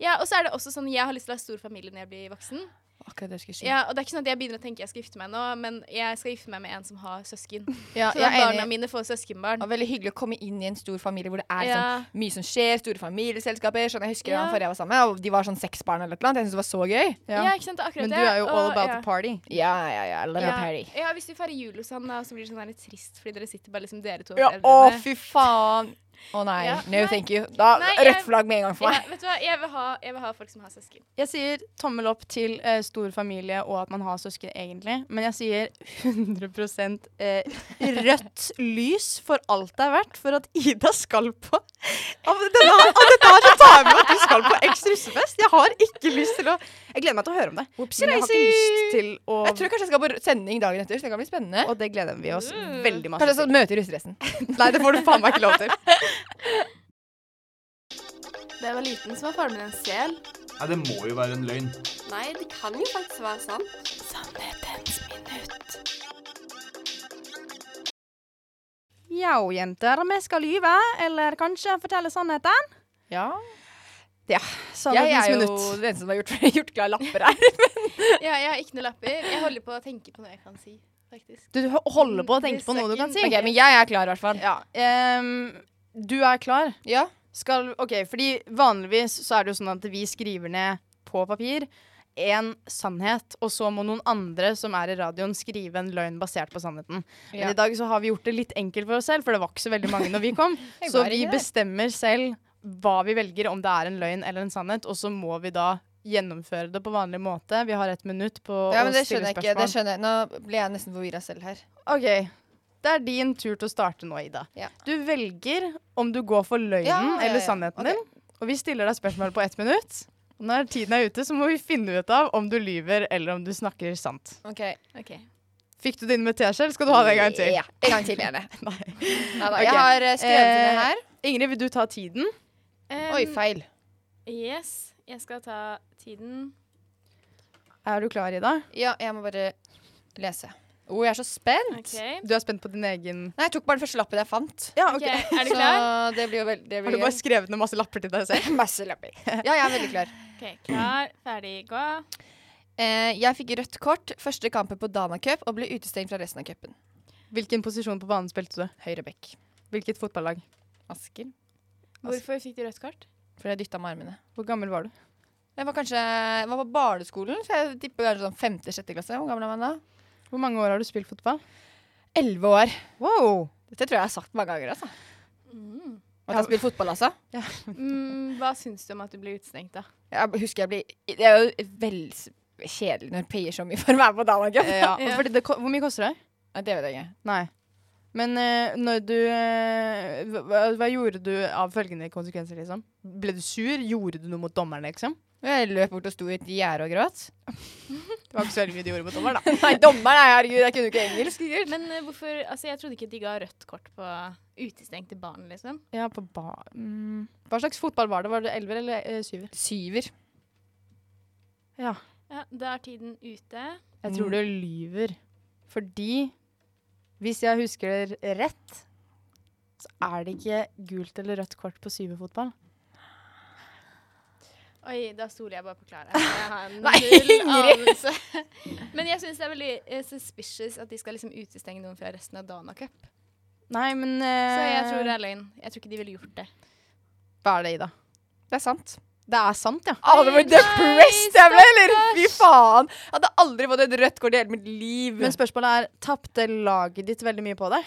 Speaker 1: ja, og så er det også sånn Jeg har lyst til å ha stor familie når jeg blir voksen.
Speaker 6: akkurat det jeg skulle si.
Speaker 1: Ja, og det er ikke sånn at jeg begynner å tenke jeg skal gifte meg nå, men jeg skal gifte meg med en som har søsken.
Speaker 6: Ja,
Speaker 1: Så
Speaker 6: jeg
Speaker 1: at
Speaker 6: er
Speaker 1: barna
Speaker 6: enig.
Speaker 1: mine får søskenbarn.
Speaker 6: Og veldig hyggelig å komme inn i en stor familie hvor det er
Speaker 1: Ja.
Speaker 6: sånn, mye som skjer. Store familieselskaper. Sånn, jeg husker
Speaker 1: Ja.
Speaker 6: han forrige jeg var sammen med, og de var sånn seks barn eller noe. Jeg syntes det var så gøy.
Speaker 1: Ja.
Speaker 5: Ja.
Speaker 1: ikke sant, det er akkurat
Speaker 5: Men du
Speaker 1: det.
Speaker 5: er jo all
Speaker 1: Og-
Speaker 5: about
Speaker 1: ja.
Speaker 5: the party.
Speaker 6: Ja, ja, ja. Love
Speaker 1: Ja.
Speaker 6: a party.
Speaker 1: Ja, hvis vi feirer jul hos han, da, så blir det sånn der trist fordi dere sitter bare liksom dere to og
Speaker 6: Ja, å,
Speaker 1: foreldrene.
Speaker 6: fy faen. Å nei.
Speaker 1: Ja,
Speaker 6: No,
Speaker 1: nei.
Speaker 6: thank you. Da,
Speaker 1: Nei,
Speaker 6: rødt
Speaker 1: jeg-
Speaker 6: flagg med en gang for
Speaker 1: Ja,
Speaker 6: meg.
Speaker 1: vet du hva, jeg vil, ha, jeg vil ha folk som har søsken.
Speaker 5: Jeg sier tommel opp til eh, stor familie og at man har søsken, egentlig. Men jeg sier 100 eh, rødt lys for alt det er verdt for at Ida skal på av denne, av Dette her så tar jeg med at du skal på eks russefest! Jeg har ikke lyst til å Jeg gleder meg til å høre om det. Men jeg har ikke lyst til å
Speaker 6: Jeg tror kanskje jeg skal på r- sending dagen etter, så det kan bli spennende.
Speaker 5: Og det gleder vi oss veldig
Speaker 6: Kanskje
Speaker 5: masse
Speaker 6: jeg
Speaker 5: til.
Speaker 6: skal møte russedressen.
Speaker 5: Nei, det får du faen meg ikke lov til.
Speaker 7: Da jeg var liten, så var faren min en sel.
Speaker 4: Nei, det må jo være en løgn.
Speaker 8: Nei, det kan jo faktisk være sant.
Speaker 5: (laughs) Ja, jenter, vi skal lyve, eller kanskje fortelle sannheten.
Speaker 6: Ja. Jeg
Speaker 5: Sannhetens
Speaker 6: er jo
Speaker 5: minutt.
Speaker 6: den eneste som har gjort, (laughs) gjort klar lapper her.
Speaker 1: Ja, jeg har ikke noen lapper. Jeg holder på å tenke på noe jeg kan si, faktisk.
Speaker 5: Du ho- holder på å tenke på noe du kan si.
Speaker 6: Ok, Men jeg er klar, i hvert fall.
Speaker 5: Ja, ehm, du er klar.
Speaker 6: Ja.
Speaker 5: Skal, ok, fordi vanligvis så er det jo sånn at vi skriver ned på papir en sannhet, og så må noen andre som er i radioen skrive en løgn basert på sannheten.
Speaker 6: Ja.
Speaker 5: Men i dag så har vi gjort det litt enkelt for oss selv, for det var ikke så veldig mange når vi kom.
Speaker 6: (laughs) Jeg
Speaker 5: så
Speaker 6: var
Speaker 5: vi
Speaker 6: ikke der.
Speaker 5: bestemmer selv hva vi velger, om det er en løgn eller en sannhet, og så må vi da gjennomføre det på vanlig måte. Vi har et minutt på
Speaker 6: Ja,
Speaker 5: å
Speaker 6: men det
Speaker 5: stille
Speaker 6: skjønner jeg ikke. Det
Speaker 5: spørsmål.
Speaker 6: skjønner jeg. Nå ble jeg nesten forvirra selv her.
Speaker 5: OK. Det er din tur til å starte nå, Ida.
Speaker 6: Ja.
Speaker 5: Du velger om du går for løgnen
Speaker 6: Ja, ja, ja.
Speaker 5: eller sannheten
Speaker 6: Ok.
Speaker 5: din. Og vi stiller deg spørsmål på ett minutt. Og når tiden er ute, så må vi finne ut av om du lyver eller om du snakker sant.
Speaker 6: Ok,
Speaker 1: Ok.
Speaker 5: Fikk du din med teskje, eller skal du ha det en gang til?
Speaker 6: Ja, en gang til
Speaker 5: (laughs)
Speaker 6: gjerne. Neida,
Speaker 5: Ok.
Speaker 6: Jeg har eh, skrevet
Speaker 5: Eh,
Speaker 6: ned her.
Speaker 5: Ingrid, vil du ta tiden? Eh,
Speaker 6: Oi,
Speaker 1: Um,
Speaker 6: feil.
Speaker 1: Yes, jeg skal ta tiden.
Speaker 5: Er du klar, Ida?
Speaker 6: Ja, jeg må bare lese. Å, Oh, jeg er så spent.
Speaker 1: Ok,
Speaker 5: Du er spent på din egen
Speaker 6: Nei, jeg tok bare den første lappen jeg fant.
Speaker 5: Ja,
Speaker 1: ok, Er du
Speaker 6: Så
Speaker 1: klar?
Speaker 6: det blir jo veldig det
Speaker 5: Har
Speaker 6: blir
Speaker 5: du bare skrevet ned masse lapper til deg selv?
Speaker 6: gøy. Masse lapper. Ja, jeg er veldig klar.
Speaker 1: Ok, Klar, ferdig, gå.
Speaker 6: Eh, jeg fikk rødt kort første kampen på Dana Cup og ble utestengt fra resten av cupen.
Speaker 5: (laughs) Hvilken posisjon på banen spilte du?
Speaker 6: Høyre bekk.
Speaker 5: Hvilket fotballag?
Speaker 6: Asker.
Speaker 1: Hvorfor fikk du rødt kort?
Speaker 6: For jeg dytta med armene.
Speaker 5: Hvor gammel var du?
Speaker 6: Jeg var kanskje jeg var på barneskolen, så jeg tipper kanskje sånn femte-sjette klasse. Hvor gammel er man da?
Speaker 5: Hvor mange år har du spilt fotball?
Speaker 6: Elleve år.
Speaker 5: Wow!
Speaker 6: Dette tror jeg jeg har sagt mange ganger, altså. At jeg spiller fotball, altså.
Speaker 1: Mm, hva syns du om at du ble utestengt, da?
Speaker 6: Jeg husker jeg blir Det er jo veldig s- kjedelig når payer så mye for å være med på Dana Cup.
Speaker 5: Eh, Ja, fordi det, ko- hvor mye koster det?
Speaker 6: Eh, Nei, Det vet jeg ikke.
Speaker 5: Nei. Men eh, når du eh, hva, hva gjorde du av følgende konsekvenser, liksom? Ble du sur? Gjorde du noe mot dommeren, liksom?
Speaker 6: Jeg løp bort og sto i et gjerde og gråt.
Speaker 5: Det var ikke så veldig mye du gjorde mot dommeren, da.
Speaker 6: (laughs) Nei, dommeren, nei, herregud, jeg kunne jo ikke engelsk. sikkert.
Speaker 1: Men eh, hvorfor, altså Jeg trodde ikke de ga rødt kort på utestengte barn, liksom.
Speaker 5: Ja, på ba... Mm. Hva slags fotball var det? Var det elver eller eh, syver?
Speaker 6: Syver.
Speaker 1: Ja, Da er tiden ute.
Speaker 5: Jeg
Speaker 6: Mm.
Speaker 5: tror du lyver. Fordi hvis jeg husker det rett, så er det ikke gult eller rødt kort på syverfotball.
Speaker 1: Oi, da stoler jeg bare på (laughs) Klara. Jeg har null anelse. (laughs) Men jeg syns det er veldig eh, suspicious at de skal liksom utestenge noen fra resten av Dana Cup.
Speaker 5: Nei, men
Speaker 1: Så jeg
Speaker 6: eh,
Speaker 1: tror det er løgn. Jeg tror ikke de ville gjort det.
Speaker 5: Hva er det, Ida?
Speaker 6: Det er sant.
Speaker 5: Det er sant, ja.
Speaker 6: Å, det var depressed jeg ble, eller? Fy faen. Jeg hadde aldri fått et rødt kort i hele mitt liv.
Speaker 5: Men spørsmålet er, tapte laget ditt veldig mye på det?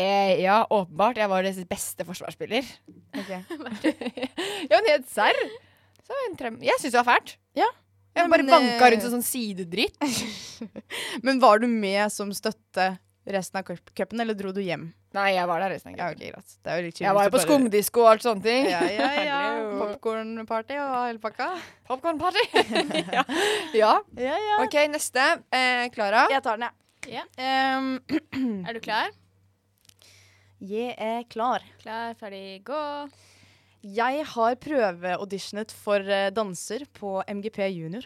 Speaker 6: eh, ja, åpenbart. Jeg var deres beste forsvarsspiller.
Speaker 1: (laughs)
Speaker 6: (laughs) ja, men helt serr. Så en trem... Jeg syns det var fælt.
Speaker 5: Ja.
Speaker 6: Jeg
Speaker 5: Nei,
Speaker 6: bare
Speaker 5: men,
Speaker 6: vanka
Speaker 5: eh,
Speaker 6: rundt som sånn sidedritt.
Speaker 5: (laughs) Men var du med som støtte resten av cup- cupen, eller dro du hjem?
Speaker 6: Nei, jeg var der resten av
Speaker 5: Ja,
Speaker 6: gangen.
Speaker 5: ok, greit. Det er jo litt chill
Speaker 6: Jeg var
Speaker 5: hvis
Speaker 6: jo på
Speaker 5: du bare-
Speaker 6: skumdisko og alt sånne ting.
Speaker 5: Ja, ja, ja.
Speaker 6: Hello.
Speaker 5: Popcornparty og hele pakka.
Speaker 6: (laughs) Popcornparty. (laughs) ja. ja.
Speaker 5: Ja, ja.
Speaker 6: OK, neste. Eh, Klara.
Speaker 5: Jeg tar den,
Speaker 1: Ja.
Speaker 5: jeg. Ehm,
Speaker 1: Er du klar?
Speaker 5: jeg er klar.
Speaker 1: Klar, ferdig, gå.
Speaker 5: Jeg har prøveauditionet for eh, danser på MGP junior.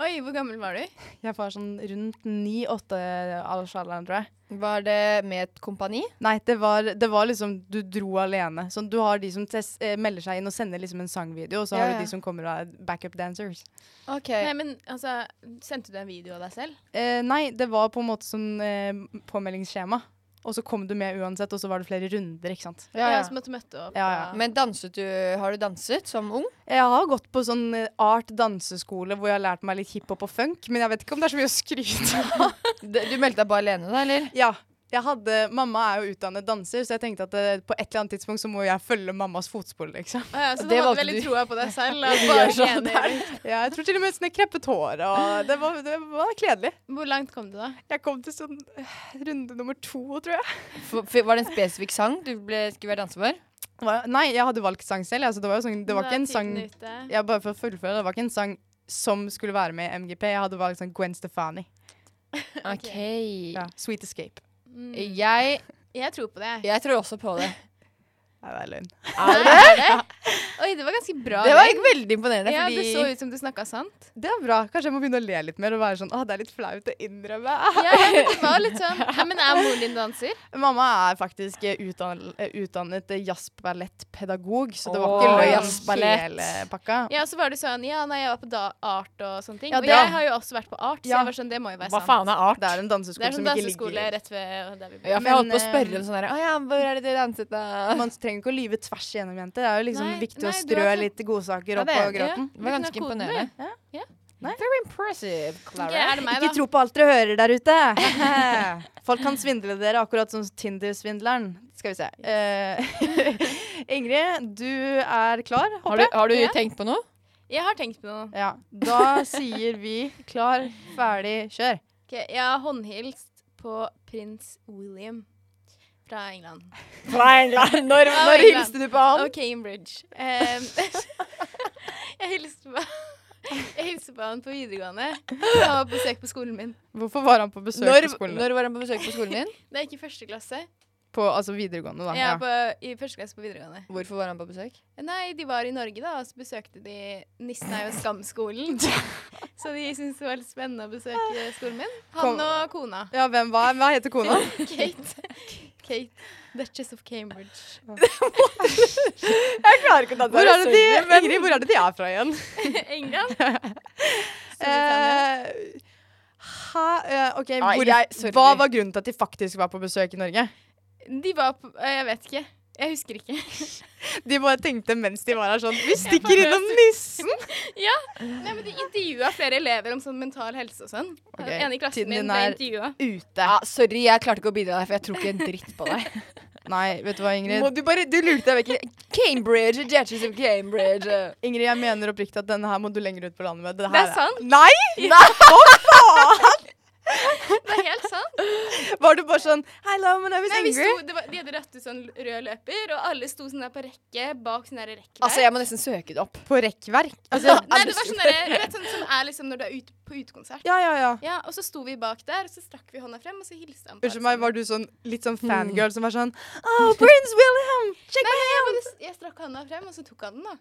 Speaker 1: Oi, hvor gammel var du?
Speaker 5: Jeg var sånn rundt ni-åtte aldersalderen, tror jeg.
Speaker 6: Var det med et kompani?
Speaker 5: Nei, det var, det var liksom Du dro alene. Sånn, du har de som tes- eh, melder seg inn og sender liksom en sangvideo, og så
Speaker 6: Ja,
Speaker 5: har
Speaker 6: ja.
Speaker 5: du de som kommer og er backup dancers.
Speaker 6: Ok.
Speaker 1: Nei, men altså, Sendte du en video av deg selv?
Speaker 5: Eh, nei, det var på en måte sånn eh, påmeldingsskjema. Og så kom du med uansett, og så var det flere runder, ikke sant.
Speaker 6: Ja, ja.
Speaker 1: som måtte møtte opp.
Speaker 5: Ja, ja.
Speaker 1: og-
Speaker 6: Men danset du Har du danset som ung?
Speaker 5: Jeg har gått på sånn eh, art danseskole hvor jeg har lært meg litt hiphop og funk, men jeg vet ikke om det er så mye å skryte av.
Speaker 6: D- Du meldte deg bare alene, da, eller?
Speaker 5: (laughs) Ja, jeg hadde, Mamma er jo utdannet danser, så jeg tenkte at eh, på et eller annet tidspunkt så må jeg følge mammas fotspor, liksom.
Speaker 1: Å ja, så
Speaker 6: Det
Speaker 1: du hadde
Speaker 6: valgte
Speaker 1: veldig
Speaker 6: du.
Speaker 1: troa på deg selv. Og bare
Speaker 6: sånn
Speaker 1: trener.
Speaker 5: Ja, jeg tror til og med sånn jeg kreppet håret, og det var, det var kledelig.
Speaker 1: Hvor langt kom du, da?
Speaker 5: Jeg kom til sånn eh, runde nummer to, tror jeg.
Speaker 6: F f var det en spesifikk sang du ble, skulle være danser for?
Speaker 5: Hva- Nei, jeg hadde valgt sang selv. Altså, det var, jo sånn, det var
Speaker 1: Da
Speaker 5: ikke
Speaker 1: er
Speaker 5: en sang
Speaker 1: tiden ute.
Speaker 5: ja, Bare for å fullføre, det var ikke en sang som skulle være med i MGP. Jeg hadde valgt sånn Gwen Stefani.
Speaker 6: OK.
Speaker 5: Ja, Sweet Escape.
Speaker 1: Mm.
Speaker 6: Jeg,
Speaker 1: Jeg tror på det.
Speaker 6: jeg tror også
Speaker 5: (laughs)
Speaker 6: på det.
Speaker 5: Nei, det er løgn.
Speaker 1: Er det? Oi, det var ganske bra.
Speaker 6: Det var
Speaker 1: løgn.
Speaker 6: veldig imponerende,
Speaker 1: ja, Det så
Speaker 6: fordi
Speaker 1: ut som du snakka
Speaker 5: (laughs)
Speaker 1: sant.
Speaker 5: Det er bra. Kanskje jeg må begynne å le litt mer og være sånn Å, det er litt flaut å innrømme. (laughs)
Speaker 1: Ja, det var litt sånn. Ja, men er moren din danser?
Speaker 5: Mamma er faktisk eh, utdan- eh, utdannet eh, jazzballettpedagog, så det var
Speaker 6: Åh,
Speaker 5: ikke løgn
Speaker 6: jazzballett.
Speaker 5: hele pakka.
Speaker 1: Ja, så var du sånn Ja, nei, jeg var på da art og sånne ting.
Speaker 5: Ja,
Speaker 1: og
Speaker 5: det-
Speaker 1: jeg har jo også vært på art, så
Speaker 5: Ja.
Speaker 1: jeg var sånn Det må jo være
Speaker 6: Hva
Speaker 1: sant.
Speaker 6: faen er art?
Speaker 5: Det er en
Speaker 1: Det
Speaker 5: danseskole
Speaker 1: er
Speaker 5: som
Speaker 1: sånn
Speaker 5: ikke
Speaker 1: danseskole
Speaker 5: ligger
Speaker 1: rett ved der vi bor.
Speaker 6: Ja, for jeg holdt på å
Speaker 5: Men,
Speaker 6: spørre om
Speaker 1: eh,
Speaker 6: sånn her Å ja, hvor er det du danset, da?
Speaker 5: Man trenger ikke å lyve tvers igjennom, jenter. Det er jo liksom
Speaker 1: Nei,
Speaker 5: viktig
Speaker 1: nei,
Speaker 5: å
Speaker 1: du
Speaker 5: strø
Speaker 1: har ikke-
Speaker 5: litt godsaker
Speaker 6: Ja,
Speaker 5: opp
Speaker 6: det
Speaker 5: på
Speaker 6: er- ja.
Speaker 5: gråten.
Speaker 6: Det var ganske
Speaker 1: Hvordan er
Speaker 6: imponerende.
Speaker 1: Ja. Nei.
Speaker 6: Very impressive, Clara.
Speaker 1: Ikke er det meg,
Speaker 5: Ikke
Speaker 1: da.
Speaker 5: tro på alt dere hører der ute! (laughs) Folk kan svindle dere akkurat som Tinder-svindleren. Skal vi se. Eh, (laughs) Ingrid, du er klar,
Speaker 6: Har
Speaker 5: håper
Speaker 6: du,
Speaker 5: jeg?
Speaker 6: har du
Speaker 1: Ja.
Speaker 6: tenkt på noe?
Speaker 1: Jeg har tenkt på noe.
Speaker 5: Ja. Da sier vi klar, ferdig, kjør.
Speaker 1: Ok, jeg har håndhilst på prins William fra England.
Speaker 6: Fra England. Når,
Speaker 1: Fra når England. hilste
Speaker 6: du på han?
Speaker 1: Og Cambridge. Em, (laughs) jeg hilste på jeg hilste på han på videregående. Han var på besøk på skolen min.
Speaker 5: Hvorfor var han på besøk
Speaker 6: Når,
Speaker 5: på skolen?
Speaker 6: når var han på besøk på skolen din?
Speaker 1: Det er ikke i første klasse.
Speaker 5: På altså videregående, da.
Speaker 1: Jeg
Speaker 5: Ja.
Speaker 1: er på, I første klasse på videregående.
Speaker 6: Hvorfor var han på besøk?
Speaker 1: Nei, de var i Norge, da, og så besøkte de Nissen er jo
Speaker 5: (laughs)
Speaker 1: skamskolen. Så de syntes det var litt spennende å besøke skolen min.
Speaker 5: Kom-
Speaker 1: Han og kona.
Speaker 5: ja, hvem var Hva heter
Speaker 6: (laughs)
Speaker 5: kona?
Speaker 1: (laughs) Kate. Kate. Duchess of Cambridge. (laughs)
Speaker 5: Hvor er det de, Ingrid, hvor er det de er fra igjen?
Speaker 1: England. Storbritannia.
Speaker 5: (laughs) Eh, ha, eh, ok,
Speaker 6: Nei,
Speaker 5: hvor,
Speaker 6: jeg- sorry.
Speaker 5: Hva var grunnen til at de faktisk var på besøk i Norge?
Speaker 1: De var på eh, Jeg vet ikke. Jeg husker
Speaker 5: (laughs)
Speaker 1: ikke.
Speaker 5: De bare tenkte mens de var her sånn Vi stikker innom nissen!
Speaker 1: Nei, men De intervjua flere elever om sånn mental helse og sånn.
Speaker 5: Ok,
Speaker 1: Den ene i klassen
Speaker 5: tiden
Speaker 1: min
Speaker 5: din
Speaker 1: ble
Speaker 5: er-
Speaker 1: intervjua.
Speaker 5: Ute.
Speaker 6: Ja, sorry, jeg klarte ikke å bidra deg, for jeg tror ikke en dritt på deg.
Speaker 5: (laughs) Nei, vet du hva, Ingrid?
Speaker 6: du bare, du lurte deg vekk i Cambridge, Duchess of Cambridge.
Speaker 5: Ingrid, jeg mener oppriktig at denne her må du lenger ut på landet med.
Speaker 1: Det
Speaker 5: her
Speaker 1: er sant.
Speaker 5: Nei!
Speaker 1: Det
Speaker 5: (laughs)
Speaker 1: er helt sant.
Speaker 5: Var du bare sånn Hello, my name is
Speaker 1: Nei, vi sto,
Speaker 5: Ingrid.
Speaker 1: det var, de hadde rødt ut sånn rød løper, og alle sto sånn der på rekke bak sånn der rekke
Speaker 6: Altså, jeg må nesten søke det opp.
Speaker 5: På rekkverk.
Speaker 1: (laughs)
Speaker 5: Altså,
Speaker 1: Nei, det var sånn der, du vet, sånn som er liksom når du er ute på utekonsert.
Speaker 5: ja, ja, ja.
Speaker 1: Ja, og så sto vi bak der, og så strakk vi hånda frem, og så hilste han. på
Speaker 5: Unnskyld
Speaker 1: alle
Speaker 5: meg,
Speaker 1: sammen.
Speaker 5: var du sånn litt sånn
Speaker 1: Mm.
Speaker 5: fangirl som var sånn Oh, Prince William! Check my
Speaker 1: Jeg, bare- jeg strakk hånda frem, og så tok han den, da.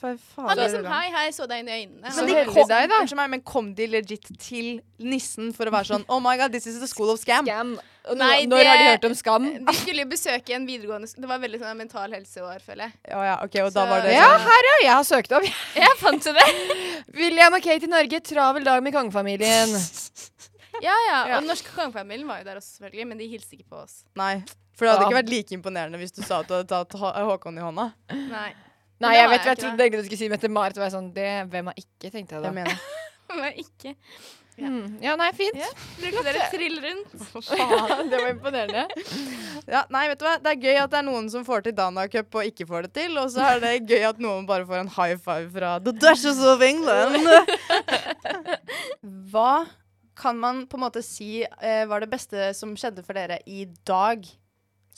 Speaker 5: For faen.
Speaker 1: Han liksom
Speaker 5: William.
Speaker 1: hei, hei, så deg inn i øynene.
Speaker 6: Så
Speaker 5: Men
Speaker 1: Han
Speaker 5: de,
Speaker 1: var-
Speaker 6: heldig
Speaker 5: kom,
Speaker 6: deg, da.
Speaker 5: unnskyld meg, men kom de legit til nissen for å være sånn Oh my god, this is the school of scam?
Speaker 6: Skam. Og nå,
Speaker 1: Nei,
Speaker 6: når har de
Speaker 1: det-
Speaker 6: hørt om skam?
Speaker 1: sånn- De skulle besøke en videregående sk- Det var veldig sånn mental helseår, føler jeg.
Speaker 5: Ja, ja, ok, og da
Speaker 1: Så-
Speaker 5: var det
Speaker 6: Ja,
Speaker 5: sånn
Speaker 6: her ja, jeg har søkt opp. (laughs)
Speaker 1: Jeg fant jo det.
Speaker 6: William og Kate i Norge, travel dag med kongefamilien.
Speaker 1: (laughs) Ja, ja. Og den norske kongefamilien var jo der også, selvfølgelig, men de hilste ikke på oss.
Speaker 5: Nei. For det hadde
Speaker 6: Ja.
Speaker 5: ikke vært like imponerende hvis du sa at du hadde tatt Hå- Håkon i hånda.
Speaker 1: (laughs) Nei.
Speaker 6: Nei,
Speaker 1: det
Speaker 6: jeg
Speaker 1: har
Speaker 6: vet
Speaker 1: jeg
Speaker 6: hva jeg
Speaker 1: ikke,
Speaker 6: trodde egentlig du skulle si Mette-Marit. og jeg Sånn, det- hvem har ikke tenkt det, da?
Speaker 5: Jeg mener.
Speaker 1: Men ikke.
Speaker 6: Mm. Ja, nei, fint.
Speaker 1: Ja. Brukte dere trill rundt?
Speaker 6: det var imponerende.
Speaker 5: Ja, nei, vet du hva? Det er gøy at det er noen som får til Dana Cup og ikke får det til, og så er det gøy at noen bare får en high five fra The Duchess
Speaker 6: (laughs)
Speaker 5: of England. Hva kan man på en måte si eh, var det beste som skjedde for dere i dag?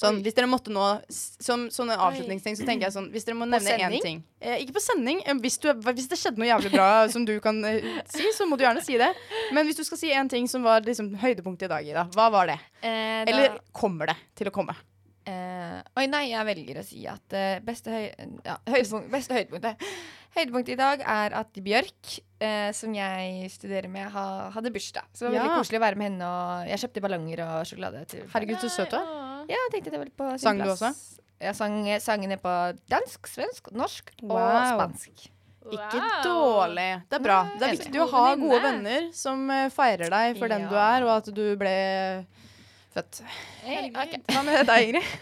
Speaker 5: Sånn, hvis dere måtte nå, s- som sånne avslutningsting, så tenker jeg sånn Hvis dere må nevne én
Speaker 6: sending?
Speaker 5: ting eh, Ikke på sending. eh, Hvis, du, hvis det skjedde noe jævlig bra (laughs) som du kan eh, si, så må du gjerne si det. Men hvis du skal si én ting som var liksom, høydepunktet i dag, Ida, hva var det?
Speaker 6: Eh, da-
Speaker 5: Eller kommer det til å komme?
Speaker 6: eh, Oi, nei, jeg velger å si at eh, beste, høy, ja, høydepunkt, beste høydepunktet Høydepunktet i dag er at Bjørk, eh, som jeg studerer med, ha, hadde bursdag. Så det var veldig
Speaker 5: Ja.
Speaker 6: koselig å være med henne. Og jeg kjøpte ballonger og sjokolade. til
Speaker 5: Herregud, så søt du er.
Speaker 6: Ja, jeg tenkte det var litt på sin
Speaker 5: Sang du
Speaker 6: plass.
Speaker 5: også?
Speaker 6: Jeg sang eh, sangene på dansk, svensk, norsk og
Speaker 5: Wow.
Speaker 6: spansk.
Speaker 5: Ikke dårlig. Det er bra. Det er
Speaker 6: Nei,
Speaker 5: viktig å ha gode venner som eh, feirer deg for den du
Speaker 6: Ja.
Speaker 5: er, og at du ble født.
Speaker 6: Ok.
Speaker 5: Hva med deg, Ingrid?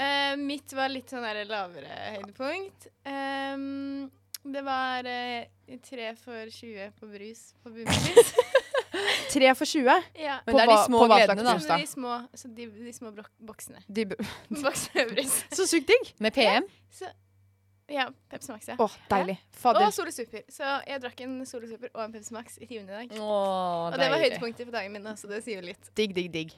Speaker 1: Eh, mitt var litt sånn der lavere høydepunkt. Ehm, det var eh, tre for 20 på brus på Bunnpris.
Speaker 5: (laughs) Tre for 20.
Speaker 1: ja.
Speaker 6: Men det er de
Speaker 5: hva-
Speaker 6: små
Speaker 5: på hva
Speaker 6: gledene,
Speaker 5: slags
Speaker 6: da.
Speaker 5: bursdag?
Speaker 1: Så de små, så de, de små brok boksene. (laughs)
Speaker 5: De bu-
Speaker 1: Boksene med brus.
Speaker 5: (laughs) Så sykt digg.
Speaker 6: Med PM.
Speaker 1: Ja. Pepsi Max, ja.
Speaker 5: Å, deilig.
Speaker 1: Og
Speaker 5: Fader.
Speaker 1: Solo Super. Så jeg drakk en Solo Super og en Pepsi Max i timen i dag.
Speaker 6: Åh,
Speaker 1: Og det var
Speaker 6: deilig.
Speaker 1: høydepunktet på dagen min, da, så det sier jo litt.
Speaker 5: Digg, digg, digg.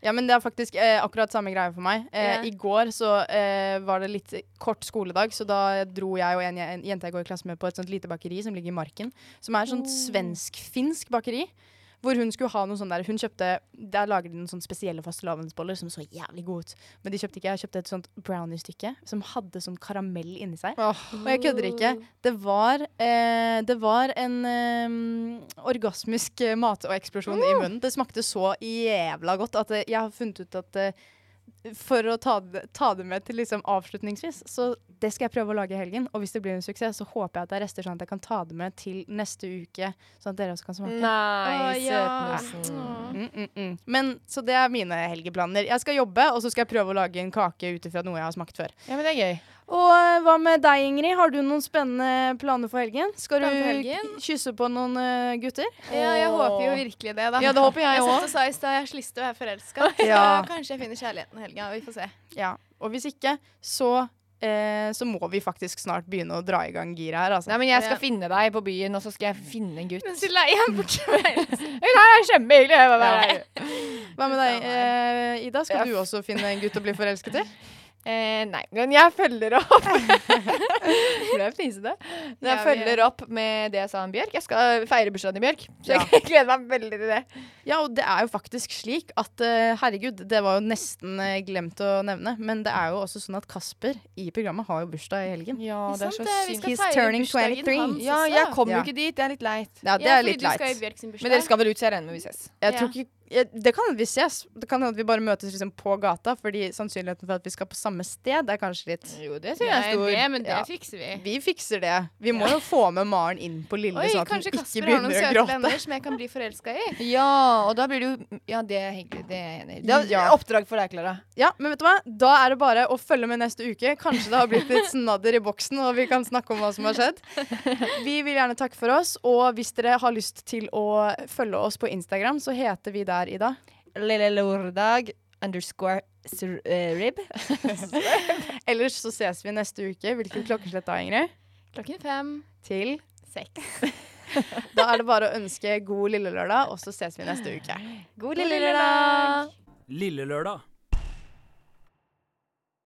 Speaker 5: Ja, men det er faktisk eh, akkurat samme greie for meg. Eh,
Speaker 1: Ja.
Speaker 5: I går så eh, var det litt kort skoledag, så da dro jeg og en, je- en jente jeg går i klasse med på et sånt lite bakeri som ligger i Marken, som er et sånt svensk-finsk bakeri. Hvor hun skulle ha noe sånn der Hun kjøpte Der lager de noen sånne spesielle fastelavnsboller som så jævlig gode ut. Men de kjøpte ikke. Jeg kjøpte et sånt brownie-stykke som hadde sånn karamell inni seg. Og jeg kødder ikke. Det var, eh, det var en eh, orgasmisk eh, mateksplosjon i munnen. Det smakte så jævla godt at eh, jeg har funnet ut at eh, for å ta det, ta det med til liksom avslutningsvis, så det skal jeg prøve å lage i helgen. Og hvis det blir en suksess, så håper jeg at det er rester sånn at jeg kan ta det med til neste uke. Sånn at dere også kan smake.
Speaker 6: Nei,
Speaker 1: Å, ja.
Speaker 6: søtmosen.
Speaker 5: Mm, mm, mm. Men, så det er mine helgeplaner. Jeg skal jobbe, og så skal jeg prøve å lage en kake ut ifra noe jeg har smakt før.
Speaker 6: Ja, men det er gøy.
Speaker 5: Og eh, hva med deg, Ingrid? Har du noen spennende planer for helgen? Skal du
Speaker 1: Planer for helgen?
Speaker 5: k- kysse på noen eh, gutter?
Speaker 1: Ja, jeg håper jo virkelig det, da.
Speaker 5: Ja, det håper jeg
Speaker 1: Jeg
Speaker 5: også.
Speaker 1: satt og sa i stad jeg har så lyst til å være forelska.
Speaker 5: (laughs) Ja.
Speaker 1: Så Kanskje jeg finner kjærligheten i helga. Vi får se.
Speaker 5: Ja. Og hvis ikke, så, eh, så må vi faktisk snart begynne å dra i gang giret her. Altså.
Speaker 6: Nei, men jeg skal
Speaker 1: Ja.
Speaker 6: finne deg på byen, og så skal jeg finne en gutt.
Speaker 1: Men så la jeg på kvelden.
Speaker 6: Det er kjempehyggelig. Jeg var bare der.
Speaker 5: Hva med deg, eh, Ida? Skal
Speaker 6: Ja.
Speaker 5: du også finne en gutt å bli forelsket i?
Speaker 6: Eh, nei, men jeg følger (laughs) opp. Ble jeg fnisete? Men Jeg
Speaker 1: Ja, vi-
Speaker 6: følger opp med det jeg sa om Bjørk. Jeg skal feire bursdagen til Bjørk, så
Speaker 5: Ja.
Speaker 6: jeg (laughs) gleder meg veldig til det.
Speaker 5: (laughs) Ja, og det er jo faktisk slik at eh, herregud, det var jo nesten eh, glemt å nevne, men det er jo også sånn at Kasper i programmet har jo bursdag i helgen. Eh,
Speaker 6: Ja,
Speaker 1: det er så Sant det, vi sykt. skal
Speaker 5: He's
Speaker 1: feire
Speaker 5: turning
Speaker 1: bursdagen
Speaker 5: 23.
Speaker 1: hans
Speaker 6: Ja,
Speaker 1: også.
Speaker 6: jeg kom jo
Speaker 5: Ja.
Speaker 6: ikke dit. Det er litt leit.
Speaker 5: Ja, det
Speaker 1: Ja,
Speaker 5: er
Speaker 1: Fordi
Speaker 5: litt
Speaker 1: du skal i
Speaker 5: leit.
Speaker 1: Bjørk sin bursdag.
Speaker 6: Men dere skal vel ut, så jeg regner med vi ses.
Speaker 5: Jeg
Speaker 1: Ja.
Speaker 5: tror ikke, jeg, det kan hende vi ses. Det kan hende at vi bare møtes liksom på gata, fordi sannsynligheten for at vi skal på samme sted, er kanskje litt
Speaker 6: Jo, det
Speaker 1: Nei, det, men det
Speaker 5: Ja.
Speaker 1: fikser vi.
Speaker 5: Vi fikser det. Vi må jo få med Maren inn på Lille,
Speaker 1: Oi,
Speaker 5: sånn at hun
Speaker 1: kanskje
Speaker 5: ikke
Speaker 1: Kasper har noen
Speaker 5: begynner å
Speaker 1: søte
Speaker 5: gråte.
Speaker 1: venner som jeg kan bli forelska i.
Speaker 6: Ja, og da blir det jo Ja, det er hyggelig. Det er jeg enig i. Det er
Speaker 5: Ja.
Speaker 6: oppdrag for deg, Klara.
Speaker 5: Ja, men vet du hva? Da er det bare å følge med neste uke. Kanskje det har blitt litt snadder i boksen, og vi kan snakke om hva som har skjedd. Vi vil gjerne takke for oss, og hvis dere har lyst til å følge oss på Instagram, så heter vi der i dag.
Speaker 6: Lille lørdag underscore sur- eh, rib.
Speaker 5: Ellers så ses vi neste uke. Hvilket klokkeslett da, Ingrid?
Speaker 1: Klokken fem.
Speaker 5: Til seks. Da er det bare å ønske god lille lørdag, og så ses vi neste uke.
Speaker 6: God lille lørdag.
Speaker 4: Lille lørdag.